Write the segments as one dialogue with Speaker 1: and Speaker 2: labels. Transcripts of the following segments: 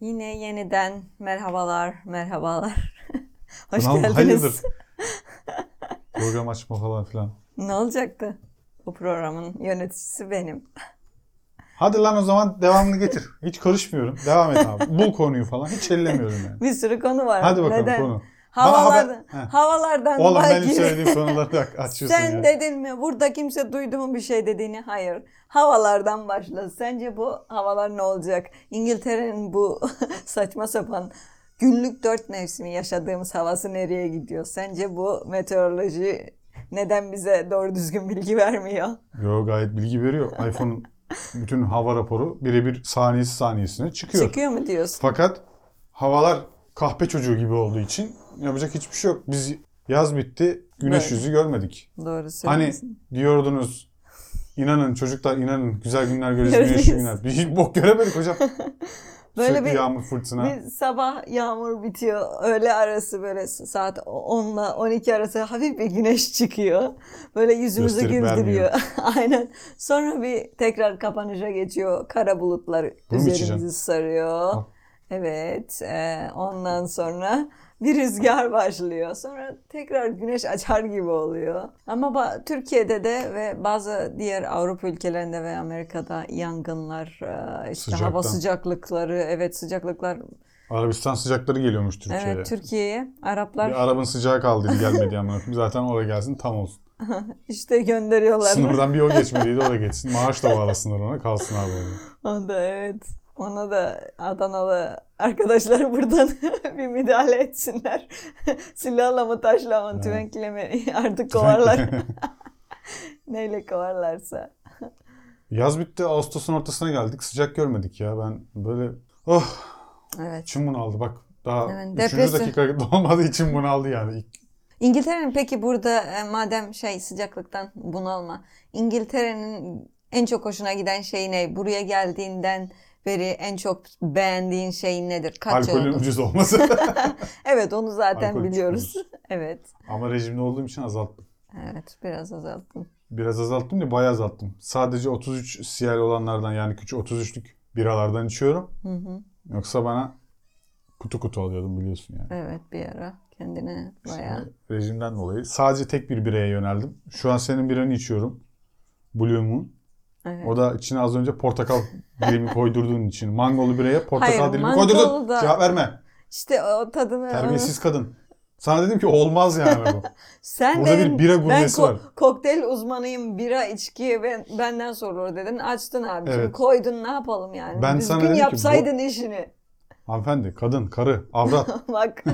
Speaker 1: Yine yeniden merhabalar, merhabalar. Hoş
Speaker 2: Tamam,
Speaker 1: geldiniz.
Speaker 2: hayırdır? Program açma falan filan.
Speaker 1: Ne olacaktı? Bu programın yöneticisi benim.
Speaker 2: Hadi lan o zaman devamını getir. Hiç karışmıyorum. Devam et abi. Bul konuyu falan. Hiç ellemiyorum yani.
Speaker 1: Bir sürü konu var.
Speaker 2: Hadi bakalım
Speaker 1: Neden?
Speaker 2: konu.
Speaker 1: Havalardan,
Speaker 2: haber- Heh.
Speaker 1: havalardan
Speaker 2: Oğlum benim
Speaker 1: bahir.
Speaker 2: söylediğim konuları da açıyorsun
Speaker 1: Sen
Speaker 2: ya.
Speaker 1: dedin mi? Burada kimse duydu mu bir şey dediğini? Hayır. Havalardan başla. Sence bu havalar ne olacak? İngiltere'nin bu saçma sapan günlük dört mevsimi yaşadığımız havası nereye gidiyor? Sence bu meteoroloji neden bize doğru düzgün bilgi vermiyor?
Speaker 2: Yo gayet bilgi veriyor. iPhone'un bütün hava raporu birebir saniyesi saniyesine çıkıyor.
Speaker 1: Çıkıyor mu diyorsun?
Speaker 2: Fakat havalar kahpe çocuğu gibi olduğu için yapacak hiçbir şey yok. Biz yaz bitti, güneş
Speaker 1: Böyle.
Speaker 2: yüzü görmedik.
Speaker 1: Doğru
Speaker 2: Hani
Speaker 1: söylüyorsun.
Speaker 2: diyordunuz inanın çocuklar inanın güzel günler göreceğiz
Speaker 1: Göreceğiz.
Speaker 2: güneşli günler. Bir bok göremedik hocam.
Speaker 1: Böyle
Speaker 2: Sürekli
Speaker 1: bir-
Speaker 2: yağmur fırtına.
Speaker 1: Bir sabah yağmur bitiyor. Öğle arası böyle saat 10 ile 12 arası hafif bir güneş çıkıyor. Böyle yüzümüzü
Speaker 2: Gösterip
Speaker 1: güldürüyor.
Speaker 2: vermiyor.
Speaker 1: Aynen. Sonra bir tekrar kapanışa geçiyor. Kara bulutlar
Speaker 2: Bunu mu
Speaker 1: üzerimizi
Speaker 2: içeceksin?
Speaker 1: sarıyor.
Speaker 2: Al.
Speaker 1: Evet. e, ondan sonra bir rüzgar başlıyor. Sonra tekrar güneş açar gibi oluyor. Ama ba- Türkiye'de de ve bazı diğer Avrupa ülkelerinde ve Amerika'da yangınlar, e, işte hava
Speaker 2: Sıcaktan.
Speaker 1: sıcaklıkları, evet sıcaklıklar
Speaker 2: Arabistan sıcakları geliyormuş Türkiye'ye.
Speaker 1: Evet Türkiye'ye Araplar
Speaker 2: bir Arap'ın sıcağı kaldı gelmedi ama zaten oraya gelsin tam olsun.
Speaker 1: işte gönderiyorlar.
Speaker 2: Sınırdan bir o geçmediydi o da geçsin. Maaş da bağlasınlar ona kalsın abi. orada.
Speaker 1: O da evet. Ona da Adanalı arkadaşlar buradan bir müdahale etsinler. Silahla mı taşla mı
Speaker 2: Evet.
Speaker 1: tüfekle mi artık kovarlar. Neyle kovarlarsa.
Speaker 2: Yaz bitti Ağustos'un ortasına geldik sıcak görmedik ya ben böyle oh
Speaker 1: Evet.
Speaker 2: içim bunaldı bak daha
Speaker 1: Evet,
Speaker 2: 3.
Speaker 1: depresyon.
Speaker 2: dakika dolmadı içim bunaldı yani. İlk-
Speaker 1: İngiltere'nin peki burada e, madem şey sıcaklıktan bunalma. İngiltere'nin en çok hoşuna giden şey ne? Buraya geldiğinden beri en çok beğendiğin şey nedir? Kaç
Speaker 2: alkolün
Speaker 1: oldu?
Speaker 2: ucuz olması.
Speaker 1: Evet onu zaten
Speaker 2: Alkol
Speaker 1: biliyoruz.
Speaker 2: çıkmıyoruz.
Speaker 1: Evet.
Speaker 2: Ama rejimde olduğum için azalttım.
Speaker 1: Evet biraz azalttım.
Speaker 2: Biraz azalttım da bayağı azalttım. Sadece 33 siyal olanlardan yani küçük 33'lük biralardan içiyorum.
Speaker 1: Hı hı.
Speaker 2: Yoksa bana kutu kutu alıyordum biliyorsun yani.
Speaker 1: Evet bir ara kendine bayağı.
Speaker 2: Şimdi Rejimden dolayı. Sadece tek bir bireye yöneldim. Şu an senin biranı içiyorum. Blue Moon.
Speaker 1: Evet.
Speaker 2: O da içine az önce portakal dilimi koydurduğun için. Mangolu bireye portakal
Speaker 1: Hayır,
Speaker 2: dilimi
Speaker 1: mangolu
Speaker 2: koydurdun.
Speaker 1: da-
Speaker 2: Cevap verme.
Speaker 1: İşte o tadını
Speaker 2: Terbiyesiz kadın. Sana dedim ki olmaz yani bu.
Speaker 1: Sen
Speaker 2: Burada
Speaker 1: dedin,
Speaker 2: bir bira
Speaker 1: ben
Speaker 2: gurmesi
Speaker 1: ko-
Speaker 2: var.
Speaker 1: kokteyl uzmanıyım bira içki ben, benden sorulur dedin açtın abicim
Speaker 2: Evet.
Speaker 1: koydun ne yapalım yani.
Speaker 2: Ben
Speaker 1: Düzgün
Speaker 2: sana dedim ki,
Speaker 1: yapsaydın işini.
Speaker 2: Hanımefendi, kadın, karı, avrat.
Speaker 1: bak
Speaker 2: Bak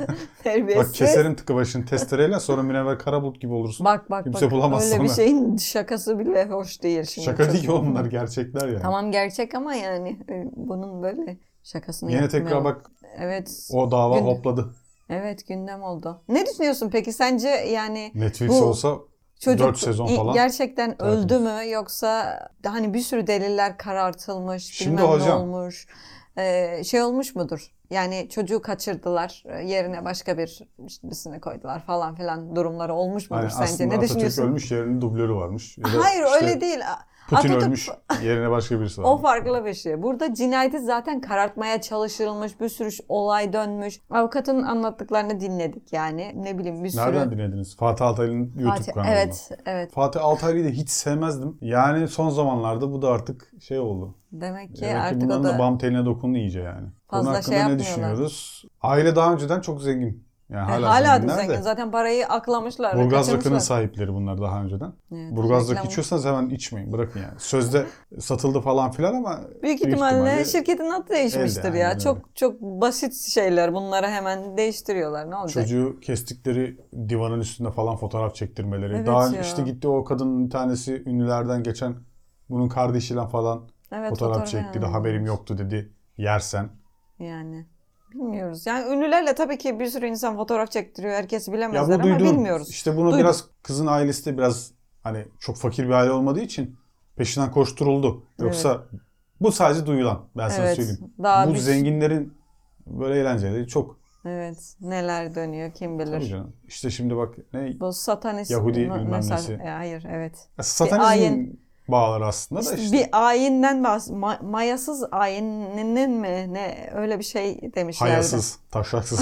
Speaker 1: terbiyesiz.
Speaker 2: keserim tıkı başını testereyle sonra Münevver Karabulut gibi olursun.
Speaker 1: Bak bak
Speaker 2: Kimse
Speaker 1: bak.
Speaker 2: bulamaz
Speaker 1: Öyle bir
Speaker 2: sana.
Speaker 1: şeyin şakası bile hoş değil şimdi.
Speaker 2: Şaka değil ki
Speaker 1: Çok-
Speaker 2: oğlum bunlar gerçekler yani.
Speaker 1: Tamam gerçek ama yani e, bunun böyle şakasını
Speaker 2: Yine
Speaker 1: yapmayalım.
Speaker 2: tekrar bak
Speaker 1: Evet.
Speaker 2: o dava
Speaker 1: Gün-
Speaker 2: hopladı.
Speaker 1: Evet gündem oldu. Ne düşünüyorsun peki? Sence yani
Speaker 2: Netflix
Speaker 1: Bu-
Speaker 2: olsa
Speaker 1: çocuk
Speaker 2: Dört sezon
Speaker 1: i-
Speaker 2: falan.
Speaker 1: gerçekten
Speaker 2: Tertemiz.
Speaker 1: öldü mü yoksa hani bir sürü deliller karartılmış,
Speaker 2: Şimdi
Speaker 1: bilmem ne
Speaker 2: hocam-
Speaker 1: olmuş. Ee, şey olmuş mudur? Yani çocuğu kaçırdılar, e, yerine başka bir birisini koydular falan filan durumları olmuş mudur
Speaker 2: yani
Speaker 1: sence?
Speaker 2: aslında
Speaker 1: Ne
Speaker 2: Atatürk
Speaker 1: düşünüyorsun?
Speaker 2: ölmüş yerinin dublörü varmış. Ya da
Speaker 1: Hayır
Speaker 2: işte
Speaker 1: öyle değil.
Speaker 2: Putin
Speaker 1: Atatürk-
Speaker 2: ölmüş yerine başka birisi
Speaker 1: O
Speaker 2: varmış.
Speaker 1: farklı bir şey. Burada cinayeti zaten karartmaya çalışılmış, bir sürü olay dönmüş. Avukatın anlattıklarını dinledik yani. Ne bileyim bir sürü.
Speaker 2: Nereden dinlediniz? Fatih Altaylı'nın YouTube
Speaker 1: Şey- Fatih-
Speaker 2: kanalı.
Speaker 1: Evet, evet.
Speaker 2: Fatih Altaylı'yı da hiç sevmezdim. Yani son zamanlarda bu da artık şey oldu.
Speaker 1: Demek ki
Speaker 2: Demek ki
Speaker 1: Şey, artık
Speaker 2: bunların
Speaker 1: o
Speaker 2: da...
Speaker 1: da
Speaker 2: bam teline dokundu iyice yani. Bunun
Speaker 1: Fazla şey
Speaker 2: hakkında ne
Speaker 1: yapmıyorlar.
Speaker 2: düşünüyoruz? Aile daha önceden çok zengin. Yani
Speaker 1: E,
Speaker 2: hala,
Speaker 1: hala da
Speaker 2: zenginler
Speaker 1: zengin.
Speaker 2: de.
Speaker 1: Zaten parayı aklamışlar.
Speaker 2: Burgazlık'ın
Speaker 1: kaçırmışlar.
Speaker 2: sahipleri bunlar daha önceden.
Speaker 1: Evet,
Speaker 2: Burgazlık
Speaker 1: reklam-
Speaker 2: içiyorsanız hemen içmeyin. Bırakın yani. Sözde satıldı falan filan ama
Speaker 1: Büyük
Speaker 2: Büyük
Speaker 1: ihtimalle
Speaker 2: ihtimalle
Speaker 1: şirketin adı değişmiştir
Speaker 2: elde,
Speaker 1: ya.
Speaker 2: aynen öyle.
Speaker 1: Çok çok basit şeyler. Bunları hemen değiştiriyorlar. Ne olacak?
Speaker 2: Çocuğu kestikleri divanın üstünde falan fotoğraf çektirmeleri.
Speaker 1: Evet
Speaker 2: Daha
Speaker 1: ya.
Speaker 2: işte gitti o kadının bir tanesi ünlülerden geçen bunun kardeşiyle falan
Speaker 1: evet,
Speaker 2: fotoğraf çekti de
Speaker 1: yani.
Speaker 2: haberim yoktu dedi. Yersen.
Speaker 1: Yani bilmiyoruz. Yani ünlülerle tabii ki bir sürü insan fotoğraf çektiriyor. Herkes
Speaker 2: Ya
Speaker 1: bilemezler
Speaker 2: bu
Speaker 1: ama
Speaker 2: duydum.
Speaker 1: bilmiyoruz.
Speaker 2: İşte bunu
Speaker 1: Duydum.
Speaker 2: biraz kızın ailesi de biraz hani çok fakir bir aile olmadığı için peşinden koşturuldu. Yoksa bu sadece duyulan. Ben sana
Speaker 1: evet.
Speaker 2: söyleyeyim.
Speaker 1: Daha
Speaker 2: bu
Speaker 1: bir-
Speaker 2: zenginlerin böyle eğlenceleri çok.
Speaker 1: Evet. Neler dönüyor kim
Speaker 2: Tabii
Speaker 1: bilir.
Speaker 2: canım. İşte şimdi bak ne
Speaker 1: Bu satanist
Speaker 2: Yahudi
Speaker 1: me-
Speaker 2: bilmem
Speaker 1: mesaj-
Speaker 2: nesi.
Speaker 1: E, Hayır evet.
Speaker 2: satanizm
Speaker 1: ayin-
Speaker 2: bağlar aslında da işte.
Speaker 1: Bir ayinden bahs ma- mayasız ayininin mi ne öyle bir şey demişlerdi.
Speaker 2: Hayasız, taşraksız.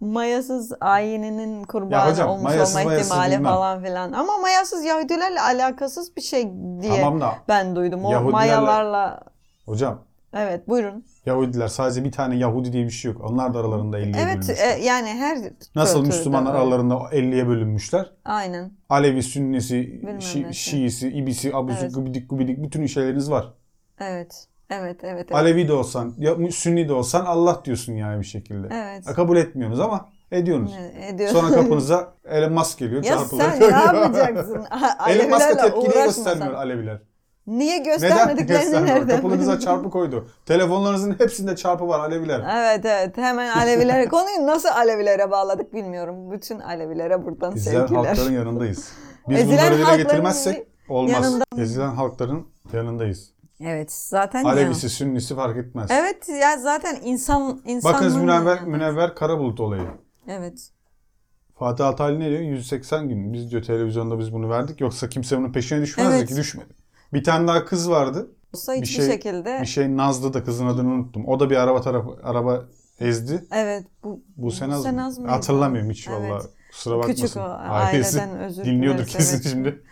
Speaker 1: Mayasız ayininin kurbanı
Speaker 2: Ya hocam,
Speaker 1: olmuş
Speaker 2: mayasız,
Speaker 1: olma
Speaker 2: mayasız
Speaker 1: ihtimali
Speaker 2: bilmem.
Speaker 1: falan filan. Ama mayasız Yahudilerle alakasız bir şey diye
Speaker 2: tamam da
Speaker 1: ben duydum. O
Speaker 2: Yahudilerle-
Speaker 1: mayalarla
Speaker 2: hocam
Speaker 1: evet buyurun.
Speaker 2: Yahudiler sadece bir tane Yahudi diye bir şey yok. Onlar da aralarında 50'ye
Speaker 1: Evet
Speaker 2: bölünmüşler.
Speaker 1: e, yani her
Speaker 2: Nasıl
Speaker 1: kültürde
Speaker 2: Müslümanlar
Speaker 1: öyle.
Speaker 2: aralarında 50'ye bölünmüşler?
Speaker 1: Aynen.
Speaker 2: Alevi, Sünnisi,
Speaker 1: Bilmem
Speaker 2: Şi-
Speaker 1: nesi.
Speaker 2: Şiisi, İbisi, Abusu,
Speaker 1: Evet.
Speaker 2: Gubidik, Gubidik bütün şeyleriniz var.
Speaker 1: Evet. Evet, evet, evet.
Speaker 2: Alevi de olsan, ya- Sünni de olsan Allah diyorsun yani bir şekilde.
Speaker 1: Evet.
Speaker 2: Ha, Kabul etmiyorsunuz ama ediyorsunuz.
Speaker 1: Ne- ediyorum.
Speaker 2: Sonra kapınıza Elon Musk geliyor.
Speaker 1: ya
Speaker 2: çarpılıyor,
Speaker 1: sen ne
Speaker 2: ölüyor.
Speaker 1: yapacaksın? A-
Speaker 2: Elon Musk'a
Speaker 1: Alevilerle
Speaker 2: tepkiyi
Speaker 1: uğraşma sen.
Speaker 2: göstermiyor Aleviler.
Speaker 1: Niye
Speaker 2: Neden
Speaker 1: göstermediklerini
Speaker 2: göstermiyor?
Speaker 1: nereden?
Speaker 2: Kapınıza
Speaker 1: bileceksin?
Speaker 2: çarpı koydu. Telefonlarınızın hepsinde çarpı var Aleviler.
Speaker 1: Evet evet hemen Alevilere konuyu nasıl Alevilere bağladık bilmiyorum. Bütün Alevilere buradan
Speaker 2: Ezilen
Speaker 1: sevgiler.
Speaker 2: halkların yanındayız. Biz
Speaker 1: Ezilen
Speaker 2: bunları dile
Speaker 1: halkların
Speaker 2: getirmezsek olmaz.
Speaker 1: yanında-
Speaker 2: Ezilen halkların yanındayız.
Speaker 1: Evet zaten
Speaker 2: Alevisi, Sünnisi fark etmez.
Speaker 1: ya. Evet ya zaten insan insan
Speaker 2: Bakınız Münevver, Münevver Karabulut olayı.
Speaker 1: Evet.
Speaker 2: Fatih Altaylı ne diyor? 180 gün. Biz diyor televizyonda biz bunu verdik. Yoksa kimse bunun peşine düşmezdi
Speaker 1: Evet.
Speaker 2: ki düşmedi. Bir tane daha kız vardı.
Speaker 1: Olsa
Speaker 2: Bir
Speaker 1: hiçbir
Speaker 2: şey-
Speaker 1: şekilde
Speaker 2: Bir şey Nazlı da kızın adını unuttum. O da bir araba tarafı, araba ezdi.
Speaker 1: evet bu
Speaker 2: Bu sene az
Speaker 1: Buse
Speaker 2: mı?
Speaker 1: Naz mıydı?
Speaker 2: Hatırlamıyorum hiç
Speaker 1: Evet.
Speaker 2: vallahi. Kusura bakmasın.
Speaker 1: Küçük o
Speaker 2: Ailesi
Speaker 1: aileden özür
Speaker 2: dinliyordur
Speaker 1: dileriz,
Speaker 2: kesin
Speaker 1: evet.
Speaker 2: şimdi.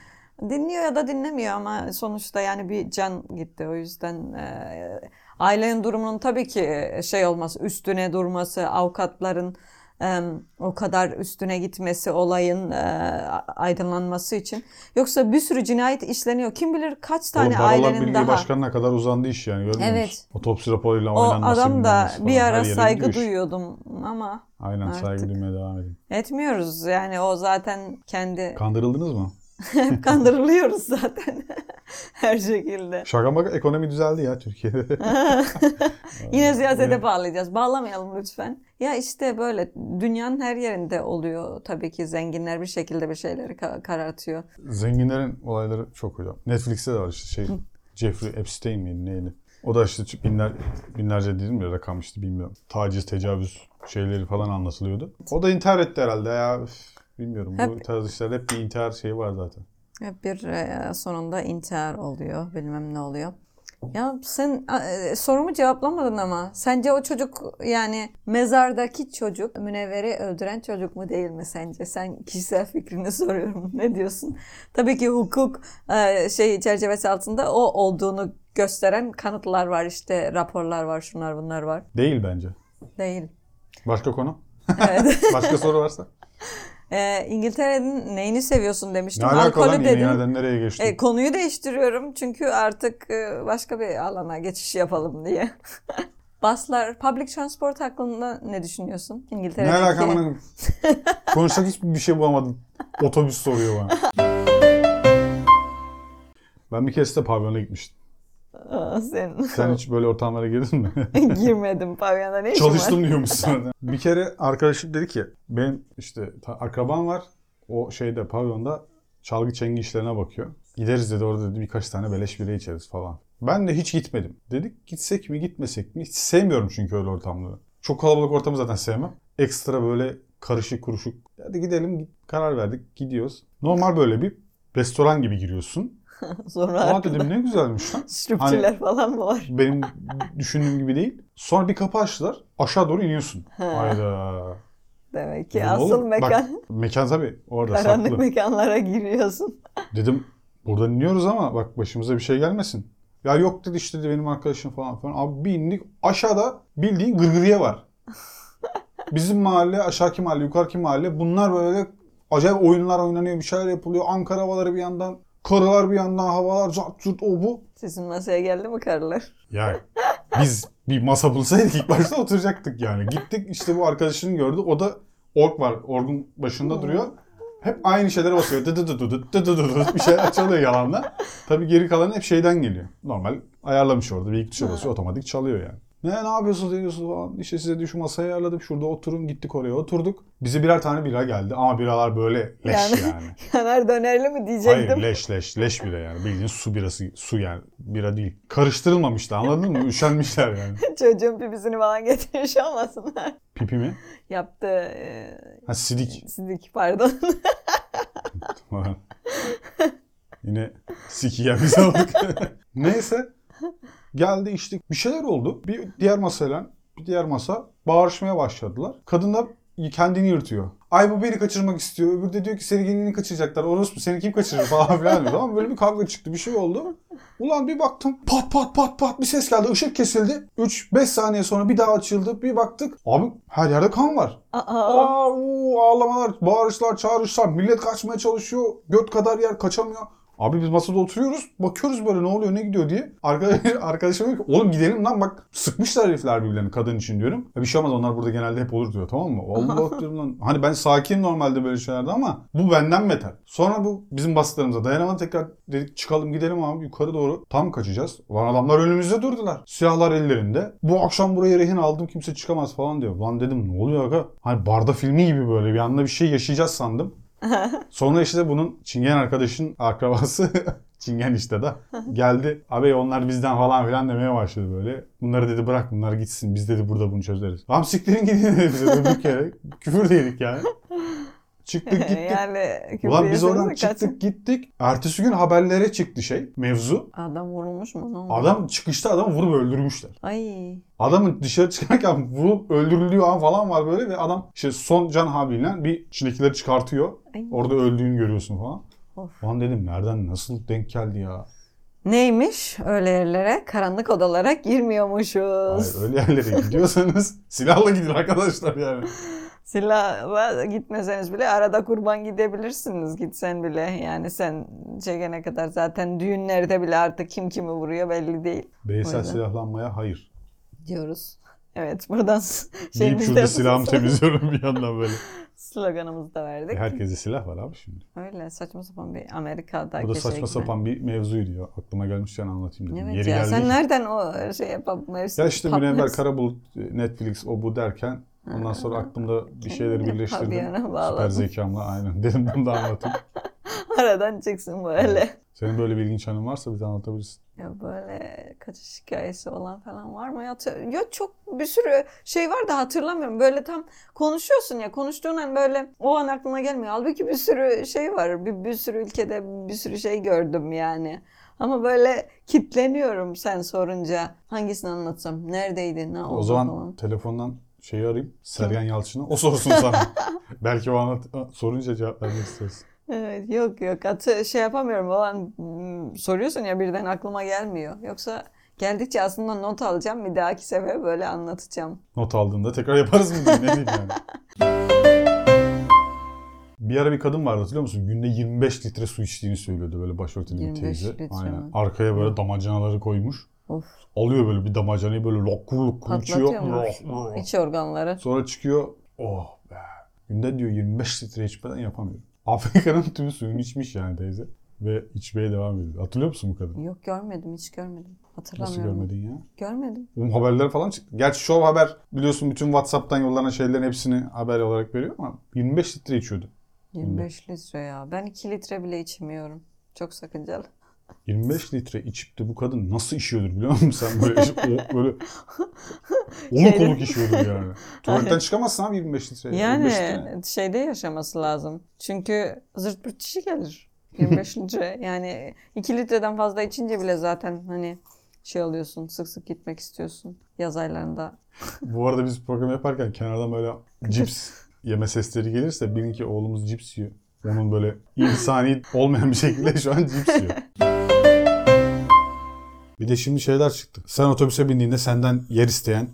Speaker 1: Dinliyor ya da dinlemiyor ama sonuçta yani bir can gitti o yüzden e, ailenin durumunun tabii ki şey olması üstüne durması avukatların e, o kadar üstüne gitmesi olayın e, aydınlanması için yoksa bir sürü cinayet işleniyor kim bilir kaç tane
Speaker 2: Oğlum Barolar
Speaker 1: ailenin
Speaker 2: Birliği
Speaker 1: daha
Speaker 2: Başkanı'na kadar uzandı iş yani görmüyor
Speaker 1: Evet.
Speaker 2: musun? Otopsi raporuyla
Speaker 1: o
Speaker 2: oynanması.
Speaker 1: adam da
Speaker 2: bilmem nesi
Speaker 1: bir
Speaker 2: falan, her
Speaker 1: ara
Speaker 2: yere
Speaker 1: saygı
Speaker 2: gidiyor iş.
Speaker 1: duyuyordum ama
Speaker 2: Aynen saygı
Speaker 1: Artık.
Speaker 2: duymaya devam edin.
Speaker 1: etmiyoruz yani o zaten kendi
Speaker 2: Kandırıldınız mı?
Speaker 1: hep kandırılıyoruz zaten her şekilde.
Speaker 2: Şaka maka ekonomi düzeldi ya Türkiye'de.
Speaker 1: Yine siyasete
Speaker 2: Yine-
Speaker 1: bağlayacağız. Bağlamayalım lütfen. Ya işte böyle dünyanın her yerinde oluyor tabii ki zenginler bir şekilde bir şeyleri ka- karartıyor.
Speaker 2: Zenginlerin olayları çok hocam. Netflix'te de var işte şey. Jeffrey Epstein miydi neydi? O da işte binler, binlerce dedim ya rakam işte bilmiyorum. Taciz, tecavüz şeyleri falan anlatılıyordu. O da intihar etti herhalde ya. Üf, bilmiyorum bu
Speaker 1: Hep-
Speaker 2: tarz işlerde hep bir intihar şeyi var zaten.
Speaker 1: Hep bir e, sonunda intihar oluyor, bilmem ne oluyor. Ya sen e, sorumu cevaplamadın ama sence o çocuk yani mezardaki çocuk Münevver'i öldüren çocuk mu değil mi sence? Sen kişisel fikrini soruyorum. Ne diyorsun? Tabii ki hukuk e, şey çerçevesi altında o olduğunu gösteren kanıtlar var işte raporlar var şunlar bunlar var.
Speaker 2: Değil bence.
Speaker 1: Değil.
Speaker 2: Başka konu?
Speaker 1: Evet.
Speaker 2: Başka soru varsa?
Speaker 1: E, İngiltere'nin neyini seviyorsun
Speaker 2: Ne
Speaker 1: demiştim.
Speaker 2: alaka lan
Speaker 1: Alkolü
Speaker 2: yeni
Speaker 1: dedim.
Speaker 2: yerden nereye geçtin?
Speaker 1: E, konuyu değiştiriyorum çünkü artık e, başka bir alana geçiş yapalım diye. Baslar, public transport hakkında ne düşünüyorsun?
Speaker 2: ne
Speaker 1: İngiltere'deki.
Speaker 2: alaka bana? Konuşacak hiçbir şey bulamadım. Otobüs soruyor bana. Ben bir kez de pavyona gitmiştim.
Speaker 1: Aa, Sen,
Speaker 2: Sen hiç böyle ortamlara girdin mi?
Speaker 1: girmedim pavyona ne işin var?
Speaker 2: Çalıştım diyormuşsun. bir kere arkadaşım dedi ki benim işte ta- akrabam var. O şeyde pavyonda çalgı çengi işlerine bakıyor. Gideriz dedi orada dedi birkaç tane beleş bira içeriz falan. Ben de hiç gitmedim. Dedik gitsek mi gitmesek mi? Hiç sevmiyorum çünkü öyle ortamları. Çok kalabalık ortamı zaten sevmem. Ekstra böyle karışık kuruşuk. Hadi gidelim git- karar verdik gidiyoruz. Normal böyle bir restoran gibi giriyorsun.
Speaker 1: Sonra
Speaker 2: Aa
Speaker 1: arkada
Speaker 2: dedim ne güzelmiş lan.
Speaker 1: stripçiler
Speaker 2: Hani-
Speaker 1: falan mı var?
Speaker 2: Benim düşündüğüm gibi değil. Sonra bir kapı açtılar. Aşağı doğru iniyorsun.
Speaker 1: Ha.
Speaker 2: Hayda.
Speaker 1: Demek ki
Speaker 2: Dedim,
Speaker 1: asıl
Speaker 2: oğlum, bak,
Speaker 1: mekan
Speaker 2: mekan tabii orada
Speaker 1: karanlık
Speaker 2: saklı.
Speaker 1: mekanlara giriyorsun.
Speaker 2: Dedim buradan iniyoruz ama bak başımıza bir şey gelmesin. Ya yok dedi işte dedi, benim arkadaşım falan falan. Abi bir indik aşağıda bildiğin gırgırıya var. Bizim mahalle, aşağıki mahalle, yukarıki mahalle bunlar böyle acayip oyunlar oynanıyor, bir şeyler yapılıyor. Ankara havaları bir yandan, karılar bir yandan, havalar zart zurt o bu.
Speaker 1: Sizin masaya geldi mi karılar?
Speaker 2: Yani biz bir masa bulsaydık ilk başta oturacaktık yani. Gittik işte bu arkadaşını gördük. O da ork var. Orgun başında duruyor. Hep aynı şeylere basıyor. Dı dı dı dı dı dı dı dı dı bir şeyler çalıyor yalanla. Tabii geri kalan hep şeyden geliyor. Normal ayarlamış orada. Bir iki tuşa basıyor otomatik çalıyor yani. Ne ne yapıyorsunuz ediyorsunuz falan. İşte size diyor, şu masayı ayarladım. Şurada oturun gittik oraya oturduk. Bize birer tane bira geldi ama biralar böyle leş
Speaker 1: Yani-
Speaker 2: yani.
Speaker 1: Yanar dönerli mi diyecektim.
Speaker 2: Hayır leş leş leş bira yani bildiğin su birası su yani bira değil. Karıştırılmamıştı anladın mı? Üşenmişler yani.
Speaker 1: Çocuğun pipisini falan getirmiş olmasınlar.
Speaker 2: Pipi mi?
Speaker 1: Yaptı e,
Speaker 2: Ha sidik.
Speaker 1: sidik pardon.
Speaker 2: Yine Sikiyen bir sağlık. Neyse. Geldi içtik. Bir şeyler oldu. Bir diğer masayla bir diğer masa bağırışmaya başladılar. Kadın da kendini yırtıyor. Ay bu beni kaçırmak istiyor. Öbürü de diyor ki seni gelini kaçıracaklar. Orospu seni kim kaçırır falan filan diyor. Ama böyle bir kavga çıktı. Bir şey oldu. Ulan bir baktım pat pat pat pat bir ses geldi. Işık kesildi. 3-5 saniye sonra bir daha açıldı. Bir baktık. Abi her yerde kan var.
Speaker 1: Aa,
Speaker 2: Aa, uu, ağlamalar, bağırışlar, çağrışlar. Millet kaçmaya çalışıyor. Göt kadar yer kaçamıyor. Abi biz masada oturuyoruz. Bakıyoruz böyle ne oluyor ne gidiyor diye. Arkadaş, arkadaşım diyor ki oğlum gidelim lan bak sıkmışlar herifler birbirlerini kadın için diyorum. "Ya bir şey olmaz onlar burada genelde hep olur diyor tamam mı? Allah diyorum lan. Hani ben sakin normalde böyle şeylerde ama bu benden beter. Sonra bu bizim basitlerimize dayanamadı tekrar dedik çıkalım gidelim abi yukarı doğru. Tam kaçacağız. Ulan adamlar önümüzde durdular. Silahlar ellerinde. Bu akşam buraya rehin aldım kimse çıkamaz falan diyor. Lan dedim ne oluyor aga? Hani barda filmi gibi böyle bir anda bir şey yaşayacağız sandım. Sonra işte bunun Çingen arkadaşın akrabası Çingen işte da geldi. Abi onlar bizden falan filan demeye başladı böyle. Bunları dedi bırak bunlar gitsin biz dedi burada bunu çözeriz. Tam siktirin gidin dedi bize de bir kere. Küfür de yedik yani. Çıktık gittik.
Speaker 1: Ee, yani küfür
Speaker 2: Ulan biz
Speaker 1: yeseniz
Speaker 2: oradan
Speaker 1: de kaçın.
Speaker 2: çıktık gittik. Ertesi gün haberlere çıktı şey mevzu.
Speaker 1: Adam vurulmuş mu? Ne olmuş?
Speaker 2: Adam çıkışta adamı vurup öldürmüşler.
Speaker 1: Ay.
Speaker 2: Adamın dışarı çıkarken vurup öldürüldüğü an falan var böyle ve adam işte son can havliyle bir içindekileri çıkartıyor.
Speaker 1: Ay.
Speaker 2: Orada öldüğünü görüyorsun falan.
Speaker 1: Of.
Speaker 2: Lan dedim nereden nasıl denk geldi ya?
Speaker 1: Neymiş öyle yerlere? Karanlık odalara girmiyormuşuz.
Speaker 2: Hayır, öyle yerlere gidiyorsanız silahla gidin arkadaşlar yani.
Speaker 1: Silahla gitmeseniz bile arada kurban gidebilirsiniz gitsen bile. Yani sen çekene kadar zaten düğünlerde bile artık kim kimi vuruyor belli değil
Speaker 2: Bireysel
Speaker 1: Vay be.
Speaker 2: silahlanmaya hayır.
Speaker 1: diyoruz. Evet buradan
Speaker 2: Deyip
Speaker 1: şeyimizi
Speaker 2: şurada
Speaker 1: Şey, de-
Speaker 2: silahımı temizliyorum bir yandan böyle.
Speaker 1: sloganımızı da verdik.
Speaker 2: E, Herkeste silah var abi şimdi.
Speaker 1: Öyle saçma sapan bir Amerika'da.
Speaker 2: Bu da saçma sapan bir mevzuydu ya. Aklıma gelmişken anlatayım dedim.
Speaker 1: Evet
Speaker 2: Yeri
Speaker 1: ya
Speaker 2: geldi.
Speaker 1: sen nereden o şey yapıp mevsim
Speaker 2: Ya işte
Speaker 1: pub
Speaker 2: Münevver
Speaker 1: mevsim-
Speaker 2: Karabulut, e, Netflix o bu derken ondan sonra aklımda bir şeyleri
Speaker 1: Kendini
Speaker 2: birleştirdim.
Speaker 1: pavyona
Speaker 2: Süper
Speaker 1: bağladın.
Speaker 2: zekamla aynen. Dedim bunu da anlatayım.
Speaker 1: Aradan çıksın böyle.
Speaker 2: Senin böyle bir ilginç anın varsa bize anlatabilirsin.
Speaker 1: Ya böyle kaçış hikayesi olan falan var mı? Ya, tö- ya çok bir sürü şey var da hatırlamıyorum. Böyle tam konuşuyorsun ya konuştuğun an böyle o an aklına gelmiyor. Halbuki bir sürü şey var. Bir, bir sürü ülkede bir sürü şey gördüm yani. Ama böyle kitleniyorum sen sorunca. Hangisini anlatsam? Neredeydi? Ne oldu?
Speaker 2: O zaman
Speaker 1: falan.
Speaker 2: telefondan şeyi arayayım. Sergen Yalçın'ı. O sorsun sana. Belki o anlat sorunca cevap vermek istersin.
Speaker 1: Evet, yok yok Atı- şey yapamıyorum o an mm, soruyorsun ya birden aklıma gelmiyor. Yoksa geldikçe aslında not alacağım bir dahaki sefer böyle anlatacağım.
Speaker 2: Not aldığında tekrar yaparız mı? diyeyim, Ne diyeyim yani. Bir ara bir kadın vardı hatırlıyor musun? Günde 25 litre su içtiğini söylüyordu böyle başörtülü bir
Speaker 1: 25
Speaker 2: teyze.
Speaker 1: litre
Speaker 2: Aynen.
Speaker 1: mi?
Speaker 2: Arkaya böyle damacanaları koymuş.
Speaker 1: Of
Speaker 2: Alıyor böyle bir damacanayı böyle lokur lokur içiyor.
Speaker 1: patlatıyor mu?
Speaker 2: Loh, loh.
Speaker 1: İç organları.
Speaker 2: Sonra çıkıyor. Oh be. Günde diyor 25 litre içmeden yapamıyorum. Afrika'nın tüm suyunu içmiş yani teyze. Ve içmeye devam ediyor. Hatırlıyor musun bu kadını?
Speaker 1: Yok görmedim hiç görmedim.
Speaker 2: Nasıl
Speaker 1: Hatırlamıyorum.
Speaker 2: görmedin ya?
Speaker 1: Görmedim.
Speaker 2: Bunun haberleri falan çıktı. Gerçi Show Haber biliyorsun bütün WhatsApp'tan yollanan şeylerin hepsini haber olarak veriyor ama 25 litre içiyordu.
Speaker 1: 25 litre ya. Ben 2 litre bile içmiyorum. Çok sakıncalı.
Speaker 2: 25 litre içip de bu kadın nasıl işiyordur biliyor musun sen böyle o- böyle oluk
Speaker 1: Şeyde-
Speaker 2: oluk işiyordur yani. Tuvaletten çıkamazsın abi 25 litre. 25 litre ne?
Speaker 1: Yani şeyde yaşaması lazım. Çünkü zırt pırt çişi gelir. 25 litre yani 2 litreden fazla içince bile zaten hani şey alıyorsun sık sık gitmek istiyorsun yaz aylarında.
Speaker 2: Bu arada biz program yaparken kenardan böyle cips yeme sesleri gelirse bilin ki oğlumuz cips yiyor. Onun böyle insani olmayan bir şekilde şu an cips yiyor. Bir de şimdi şeyler çıktı. Sen otobüse bindiğinde senden yer isteyen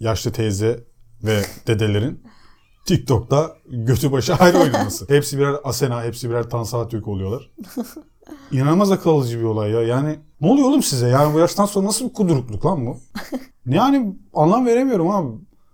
Speaker 2: yaşlı teyze ve dedelerin TikTok'ta götü başı ayrı oynaması. Hepsi birer Asena, hepsi birer Tansa Atök oluyorlar. İnanılmaz akıl alıcı bir olay ya. Yani ne oluyor oğlum size? Yani bu yaştan sonra nasıl bir kudurukluk lan bu? Yani anlam veremiyorum abi.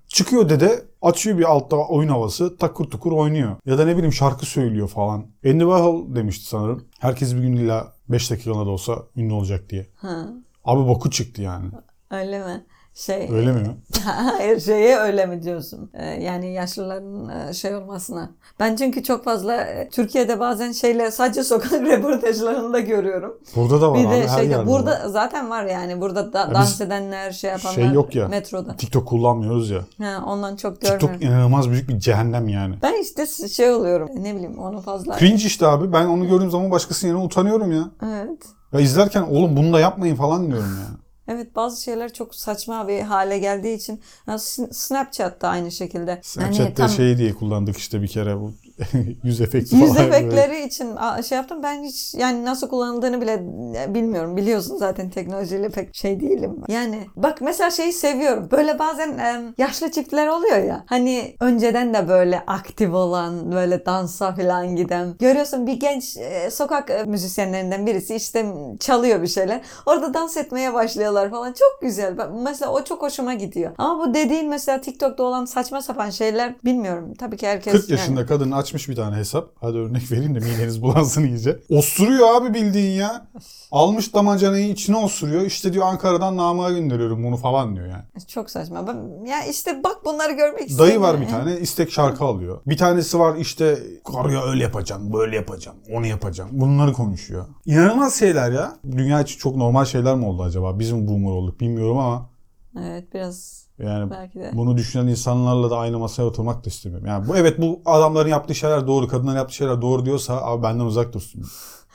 Speaker 2: Çıkıyor dede açıyor bir altta oyun havası takır tukur oynuyor. Ya da ne bileyim şarkı söylüyor falan. Andy Warhol demişti sanırım. Herkes bir gün illa 5 dakikada da olsa ünlü olacak diye.
Speaker 1: Ha,
Speaker 2: Abi boku çıktı yani.
Speaker 1: öyle mi? Şey
Speaker 2: Öyle mi?
Speaker 1: Hayır şeye öyle mi diyorsun? Ee, yani yaşlıların e, şey olmasına. Ben çünkü çok fazla e, Türkiye'de bazen şeyle sadece sokak röportajlarında görüyorum.
Speaker 2: Burada da var
Speaker 1: Bir
Speaker 2: abi
Speaker 1: de
Speaker 2: her
Speaker 1: şeyde
Speaker 2: yerde
Speaker 1: burada
Speaker 2: var.
Speaker 1: zaten var yani burada da,
Speaker 2: biz-
Speaker 1: dans edenler şey yapanlar
Speaker 2: şey yok ya.
Speaker 1: metroda.
Speaker 2: TikTok kullanmıyoruz ya.
Speaker 1: Ha, ondan çok görmüyorum.
Speaker 2: TikTok inanılmaz büyük bir cehennem yani.
Speaker 1: Ben işte şey oluyorum. Ne bileyim onu fazla.
Speaker 2: Cringe işte abi. Ben onu gördüğüm zaman başkasının yerine utanıyorum ya.
Speaker 1: Evet.
Speaker 2: Ya izlerken oğlum bunu da yapmayın falan diyorum ya.
Speaker 1: Evet bazı şeyler çok saçma bir hale geldiği için ya, Sn- Snapchat da aynı şekilde.
Speaker 2: Snapchat'te
Speaker 1: tam
Speaker 2: şey diye kullandık işte bir kere bu yüz efekti falan.
Speaker 1: Yüz
Speaker 2: böyle.
Speaker 1: efektleri için a- şey yaptım. Ben hiç yani nasıl kullanıldığını bile e, bilmiyorum. Biliyorsun zaten teknolojiyle pek şey değilim. ben. Yani bak mesela şeyi seviyorum. Böyle bazen em, yaşlı çiftler oluyor ya. Hani önceden de böyle aktif olan, böyle dansa falan giden. Görüyorsun bir genç e, sokak e, müzisyenlerinden birisi işte çalıyor bir şeyler. Orada dans etmeye başlıyorlar falan. Çok güzel. Ben- Mesela o çok hoşuma gidiyor. Ama bu dediğin mesela TikTok'ta olan saçma sapan şeyler bilmiyorum. Tabii ki herkes
Speaker 2: 40
Speaker 1: yani-
Speaker 2: yaşında kadın açmış bir tane hesap. Hadi örnek vereyim de mideniz bulansın iyice. Osuruyor abi bildiğin ya. Almış damacanayı içine osuruyor. İşte diyor Ankara'dan namığa gönderiyorum bunu falan diyor yani.
Speaker 1: Çok saçma. Ben, ya işte bak bunları görmek istiyorum.
Speaker 2: Dayı var bir tane istek şarkı alıyor. Bir tanesi var işte karıya öyle yapacağım, böyle yapacağım, onu yapacağım. Bunları konuşuyor. İnanılmaz şeyler ya. Dünya için çok normal şeyler mi oldu acaba? Bizim boomer olduk bilmiyorum ama
Speaker 1: Evet biraz
Speaker 2: yani
Speaker 1: belki de.
Speaker 2: bunu düşünen insanlarla da aynı masaya oturmak da istemiyorum. Yani bu evet bu adamların yaptığı şeyler doğru, kadınların yaptığı şeyler doğru diyorsa abi benden uzak dursun.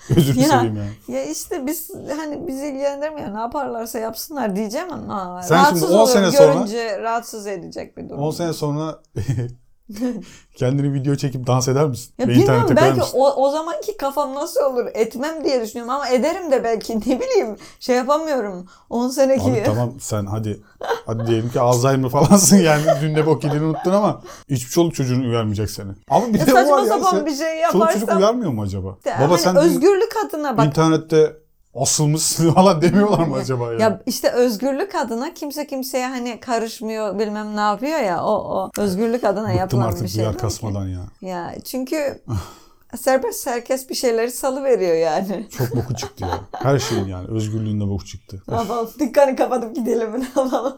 Speaker 2: Özür
Speaker 1: Ya.
Speaker 2: seveyim yani.
Speaker 1: Ya işte biz hani bizi ilgilendirmiyor. Ne yaparlarsa yapsınlar diyeceğim ama.
Speaker 2: Sen
Speaker 1: rahatsız
Speaker 2: şimdi on
Speaker 1: oluyorum.
Speaker 2: sene sonra-
Speaker 1: Görünce rahatsız edecek bir durum.
Speaker 2: 10 sene sonra kendini video çekip dans eder misin?
Speaker 1: Ya
Speaker 2: Ve
Speaker 1: bilmiyorum
Speaker 2: internete koyar
Speaker 1: belki
Speaker 2: mısın?
Speaker 1: o, o zamanki kafam nasıl olur etmem diye düşünüyorum ama ederim de belki ne bileyim şey yapamıyorum 10 seneki
Speaker 2: Abi tamam sen hadi hadi diyelim ki Alzheimer falansın yani dün de bok yediğini unuttun ama hiçbir çoluk çocuğun uyarmayacaksın seni. Ama bir
Speaker 1: Ya
Speaker 2: de o var
Speaker 1: saçma
Speaker 2: ya
Speaker 1: sapan
Speaker 2: sen,
Speaker 1: bir şey
Speaker 2: çoluk çocuk
Speaker 1: yaparsam
Speaker 2: uyarmıyor mu acaba?
Speaker 1: Ya
Speaker 2: Baba
Speaker 1: hani
Speaker 2: sen
Speaker 1: özgürlük adına bak
Speaker 2: internette asılmışsın falan demiyorlar mı
Speaker 1: Ya-
Speaker 2: acaba yani?
Speaker 1: Ya işte özgürlük adına kimse kimseye hani karışmıyor bilmem ne yapıyor ya o o özgürlük adına
Speaker 2: Bıktım
Speaker 1: yapılan bir
Speaker 2: artık
Speaker 1: şey.
Speaker 2: duyar
Speaker 1: belki.
Speaker 2: kasmadan ya.
Speaker 1: Ya çünkü serbest herkes bir şeyleri salı veriyor yani.
Speaker 2: Çok boku çıktı ya. Her şeyin yani özgürlüğünde boku çıktı.
Speaker 1: Ne yapalım? Dükkanı kapatıp gidelim ne yapalım?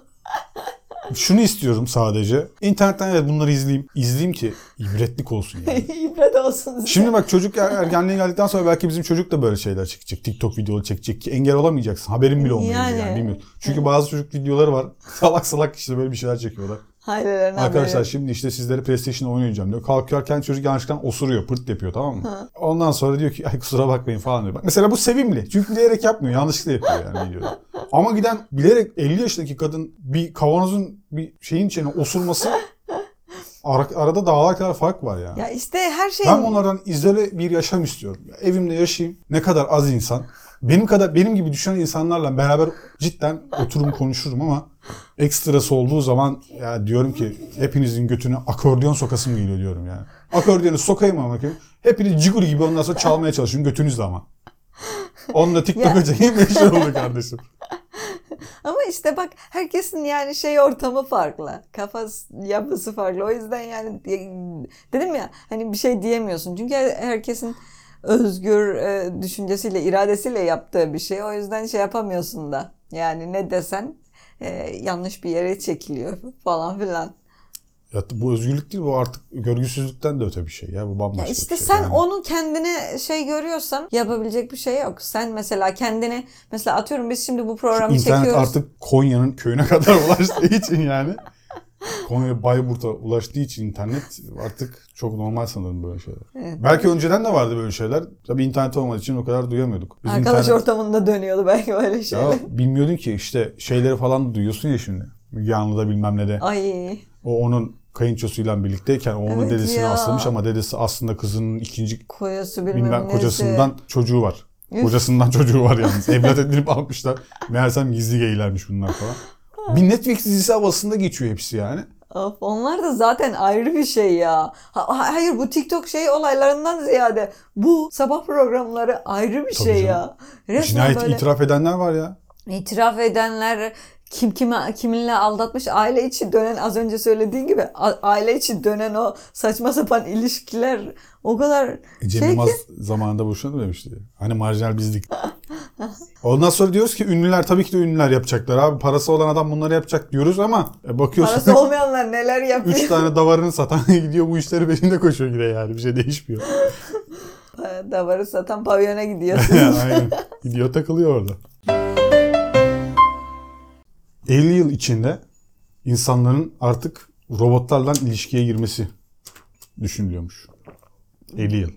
Speaker 2: Şunu istiyorum sadece. İnternetten evet bunları izleyeyim. İzleyeyim ki ibretlik olsun yani.
Speaker 1: İbret olsun size.
Speaker 2: Şimdi bak çocuk er- ergenliğe geldikten sonra belki bizim çocuk da böyle şeyler çekecek. TikTok videoları çekecek ki engel olamayacaksın. Haberin bile olmayacak yani,
Speaker 1: Yani.
Speaker 2: bilmiyorum. Çünkü bazı çocuk videoları var. Salak salak işte böyle bir şeyler çekiyorlar.
Speaker 1: Ailelerine
Speaker 2: Arkadaşlar
Speaker 1: haberi.
Speaker 2: şimdi işte sizlere PlayStation oynayacağım diyor. Kalkıyorken çocuk yanlışlıkla osuruyor. Pırt yapıyor tamam mı? Ondan sonra diyor ki ay kusura bakmayın falan diyor. Bak, mesela bu sevimli. Çünkü bilerek yapmıyor. Yanlışlıkla yapıyor yani videoda. Ama giden bilerek 50 yaşındaki kadın bir kavanozun bir şeyin içine osurması ara- arada dağlar kadar fark var yani.
Speaker 1: Ya işte her şey
Speaker 2: Ben onlardan izole bir yaşam istiyorum. Ya Evimde yaşayayım. Ne kadar az insan. Benim kadar benim gibi düşünen insanlarla beraber cidden oturum konuşurum ama ekstrası olduğu zaman ya diyorum ki hepinizin götüne akordeon sokasım geliyor diyorum yani. Akordiyonu sokayım ama bakayım. Hepiniz cigur gibi ondan sonra çalmaya çalışın götünüzle ama. Onunla TikTok'a
Speaker 1: Ya.
Speaker 2: çekeyim meşhur oldu kardeşim.
Speaker 1: ama işte bak herkesin yani şey ortamı farklı. Kafası yapısı farklı. O yüzden yani e, dedim ya hani bir şey diyemiyorsun. Çünkü herkesin özgür e, düşüncesiyle, iradesiyle yaptığı bir şey. O yüzden şey yapamıyorsun da. Yani ne desen e, yanlış bir yere çekiliyor falan filan.
Speaker 2: Ya bu özgürlük değil bu artık görgüsüzlükten de öte bir şey ya bu bambaşka
Speaker 1: Ya işte
Speaker 2: bir şey.
Speaker 1: sen
Speaker 2: Yani
Speaker 1: onu kendine şey görüyorsan yapabilecek bir şey yok. Sen mesela kendini mesela atıyorum biz şimdi bu programı
Speaker 2: İnternet
Speaker 1: çekiyoruz.
Speaker 2: artık Konya'nın köyüne kadar ulaştığı için yani. Konya Bayburt'a ulaştığı için internet artık çok normal sanırım böyle şeyler.
Speaker 1: Evet.
Speaker 2: Belki önceden de vardı böyle şeyler. Tabii internet olmadığı için o kadar duyamıyorduk. Biz
Speaker 1: Arkadaş
Speaker 2: internet-
Speaker 1: ortamında dönüyordu belki böyle
Speaker 2: Ya
Speaker 1: şeyler.
Speaker 2: bilmiyordun ki işte şeyleri falan da duyuyorsun ya şimdi. Müge Anlı'da bilmem ne de.
Speaker 1: Ay.
Speaker 2: O onun kayınçosuyla birlikteyken o onun
Speaker 1: Evet
Speaker 2: dedesini
Speaker 1: ya.
Speaker 2: asılmış ama dedesi aslında kızının ikinci
Speaker 1: Koyası bilmem,
Speaker 2: bilmem
Speaker 1: nesi.
Speaker 2: kocasından çocuğu var.
Speaker 1: Üf.
Speaker 2: Kocasından çocuğu var yalnız. Evlat edinip almışlar. Meğersem gizli geylermiş bunlar falan. Bir Netflix dizisi havasında geçiyor hepsi yani.
Speaker 1: Of, onlar da zaten ayrı bir şey ya. Ha- ha- hayır bu TikTok şey olaylarından ziyade bu sabah programları ayrı bir
Speaker 2: Tabii
Speaker 1: şey
Speaker 2: canım. E,
Speaker 1: ya. Resmen
Speaker 2: Cinayet
Speaker 1: böyle
Speaker 2: itiraf edenler var ya.
Speaker 1: itiraf edenler kim kime kiminle aldatmış aile içi dönen az önce söylediğin gibi a- aile içi dönen o saçma sapan ilişkiler o kadar
Speaker 2: E, Cem
Speaker 1: şey
Speaker 2: Yılmaz
Speaker 1: ki
Speaker 2: zamanında boşandı demişti. Hani marjinal bizlik. Ondan sonra diyoruz ki ünlüler tabii ki de ünlüler yapacaklar abi. Parası olan adam bunları yapacak diyoruz ama e, bakıyorsun
Speaker 1: parası olmayanlar neler yapıyor.
Speaker 2: 3 tane davarını satan gidiyor bu işleri peşinde koşuyor yine yani. Bir şey değişmiyor.
Speaker 1: Davarı satan pavyona gidiyorsun.
Speaker 2: Aynen. Gidiyor takılıyor orada. 50 yıl içinde insanların artık robotlarla ilişkiye girmesi düşünülüyormuş. 50 yıl.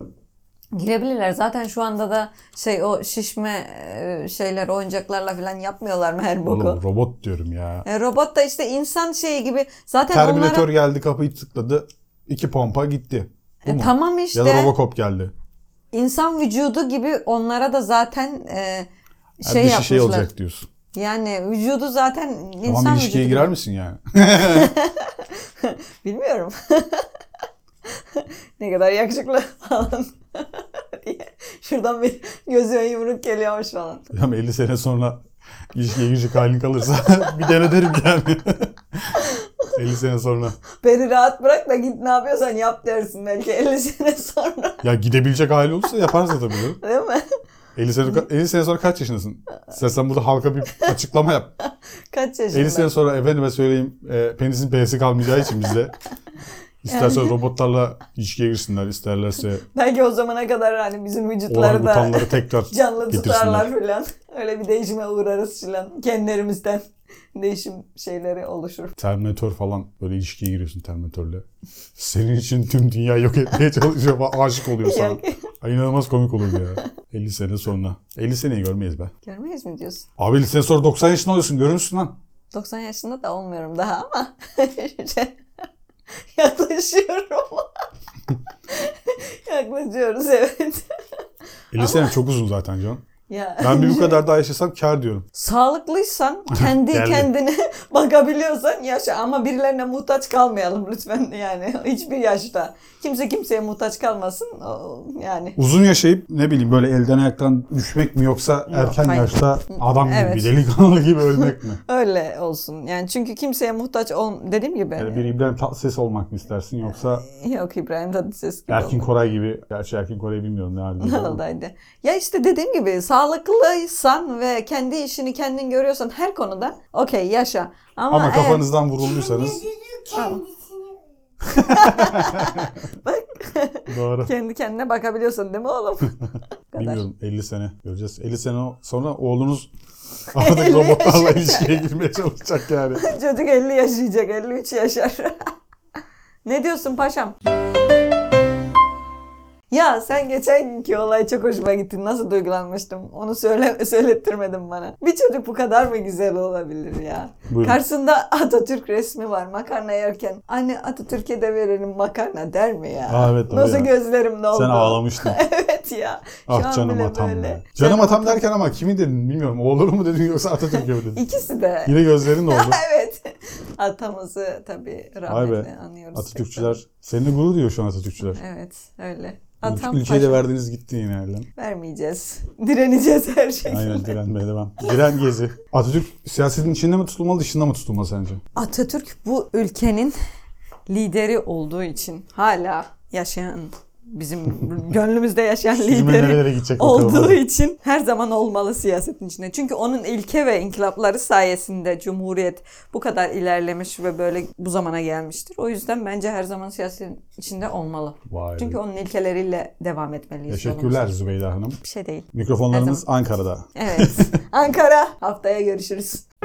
Speaker 1: Girebilirler. Zaten şu anda da şey o şişme e, şeyler oyuncaklarla falan yapmıyorlar mı her boku?
Speaker 2: Oğlum robot diyorum ya.
Speaker 1: E, robot da işte insan şeyi gibi. Zaten
Speaker 2: Terminator
Speaker 1: onlara
Speaker 2: geldi kapıyı tıkladı. iki pompa gitti. Bu
Speaker 1: E,
Speaker 2: mu?
Speaker 1: tamam
Speaker 2: Ya da
Speaker 1: işte
Speaker 2: Robocop geldi.
Speaker 1: insan vücudu gibi onlara da zaten e,
Speaker 2: Ha,
Speaker 1: şey
Speaker 2: dışı şey
Speaker 1: yapmışlar.
Speaker 2: olacak diyorsun.
Speaker 1: Yani vücudu zaten insan
Speaker 2: Tamam ilişkiye
Speaker 1: vücudu.
Speaker 2: girer misin yani?
Speaker 1: Bilmiyorum. ne kadar yakışıklı falan diye. Şuradan bir gözüme yumruk geliyormuş falan.
Speaker 2: Ama 50 sene sonra ilişkiye girecek halin kalırsa bir dene derim yani. 50 sene sonra.
Speaker 1: Beni rahat bırak da git ne yapıyorsan yap dersin belki 50 sene sonra.
Speaker 2: Ya gidebilecek hali olursa yaparsa tabii. canım.
Speaker 1: Değil mi?
Speaker 2: 50 sene, 50 sene sonra kaç yaşındasın? İstersen burada halka bir açıklama yap.
Speaker 1: Kaç yaşında?
Speaker 2: 50 sene sonra efendime söyleyeyim e, penisin p'si kalmayacağı için bizde. İsterse robotlarla ilişkiye girsinler, isterlerse
Speaker 1: Belki o zamana kadar hani bizim vücutları da
Speaker 2: orangutanları tekrar
Speaker 1: canlı
Speaker 2: getirsinler.
Speaker 1: tutarlar filan. Öyle bir değişime uğrarız filan. Kendilerimizden değişim şeyleri oluşur.
Speaker 2: Terminator falan böyle ilişkiye giriyorsun Terminator'le. Senin için tüm dünya yok etmeye çalışıyor falan aşık oluyor sana.
Speaker 1: Yani-
Speaker 2: Ay inanılmaz komik olur ya. 50 sene sonra. 50 seneyi görmeyiz be.
Speaker 1: Görmeyiz mi diyorsun?
Speaker 2: Abi 50 sene sonra 90 yaşında oluyorsun görür müsün lan?
Speaker 1: 90 yaşında da olmuyorum daha ama şey, yaklaşıyorum. Yaklaşıyoruz evet.
Speaker 2: 50 sene çok uzun zaten Can.
Speaker 1: Ya.
Speaker 2: Ben bir bu kadar daha yaşasam kar diyorum.
Speaker 1: Sağlıklıysan, kendi
Speaker 2: Geldi.
Speaker 1: kendine bakabiliyorsan yaşa ama birilerine muhtaç kalmayalım lütfen yani hiçbir yaşta. Kimse kimseye muhtaç kalmasın o- yani.
Speaker 2: Uzun yaşayıp ne bileyim böyle elden ayaktan düşmek mi yoksa erken
Speaker 1: hayır.
Speaker 2: yaşta adam gibi
Speaker 1: Evet.
Speaker 2: delikanlı gibi ölmek mi?
Speaker 1: Öyle olsun yani çünkü kimseye muhtaç ol dediğim gibi.
Speaker 2: Yani bir İbrahim Tatlıses olmak mı istersin yoksa
Speaker 1: Yok İbrahim Tatlıses gibi
Speaker 2: Erkin
Speaker 1: olmak.
Speaker 2: Koray gibi. Gerçi Erkin Koray'ı bilmiyorum ne halde.
Speaker 1: Kanada'ydı. Ya işte dediğim gibi sağlıklıysan ve kendi işini kendin görüyorsan her konuda okey yaşa. Ama,
Speaker 2: Ama
Speaker 1: eğer-
Speaker 2: kafanızdan vurulduysanız
Speaker 3: Gözünü kendisini
Speaker 2: doğru.
Speaker 1: kendi kendine bakabiliyorsun değil mi oğlum? Bu kadar.
Speaker 2: Bilmiyorum 50 sene göreceğiz. 50 sene sonra oğlunuz artık
Speaker 1: 50
Speaker 2: robotlarla
Speaker 1: yaşında.
Speaker 2: ilişkiye girmeye çalışacak yani.
Speaker 1: Çocuk 50 yaşayacak, 53 yaşar. ne diyorsun paşam? Ya sen geçen günkü olay çok hoşuma gitti. Nasıl duygulanmıştım? Onu söyle söylettirmedin bana. Bir çocuk bu kadar mı güzel olabilir ya?
Speaker 2: Buyurun.
Speaker 1: Karşısında Atatürk resmi var makarna yerken. Anne Atatürk'e de verelim makarna der mi ya?
Speaker 2: Aa, Ah, evet, tabii
Speaker 1: Nasıl
Speaker 2: ya.
Speaker 1: gözlerim doldu?
Speaker 2: Sen ağlamıştın.
Speaker 1: evet ya. Şu
Speaker 2: Ah
Speaker 1: an
Speaker 2: canım
Speaker 1: bile
Speaker 2: atam.
Speaker 1: böyle.
Speaker 2: be. Canım atam derken ama kimi dedin bilmiyorum. Oğlunu mu dedin yoksa Atatürk'e mi dedin?
Speaker 1: İkisi de.
Speaker 2: Yine gözlerin oldu.
Speaker 1: evet. Atamızı tabii
Speaker 2: Vay
Speaker 1: rahmetle
Speaker 2: be,
Speaker 1: anıyoruz.
Speaker 2: Atatürkçüler. Seninle gurur duyuyor şu an Atatürkçüler.
Speaker 1: Evet öyle.
Speaker 2: Atam
Speaker 1: Atam
Speaker 2: Ülkeyi de
Speaker 1: paşa-
Speaker 2: verdiniz gitti yine elden.
Speaker 1: vermeyeceğiz. Direneceğiz her şekilde.
Speaker 2: Aynen direnmeye devam. Diren gezi. Atatürk siyasetin içinde mi tutulmalı dışında mı tutulmalı sence?
Speaker 1: Atatürk bu ülkenin lideri olduğu için hala yaşayan bizim gönlümüzde yaşayan
Speaker 2: Kimin
Speaker 1: lideri
Speaker 2: nerelere gidecek bakalım.
Speaker 1: olduğu
Speaker 2: hadi.
Speaker 1: için her zaman olmalı siyasetin içinde. Çünkü onun ilke ve inkılapları sayesinde Cumhuriyet bu kadar ilerlemiş ve böyle bu zamana gelmiştir. O yüzden bence her zaman siyasetin içinde olmalı.
Speaker 2: Vay be.
Speaker 1: Çünkü onun ilkeleriyle devam etmeliyiz.
Speaker 2: Teşekkürler
Speaker 1: yolumuza.
Speaker 2: Zübeyde Hanım.
Speaker 1: Bir şey değil.
Speaker 2: Mikrofonlarımız Ankara'da.
Speaker 1: Evet. Ankara haftaya görüşürüz.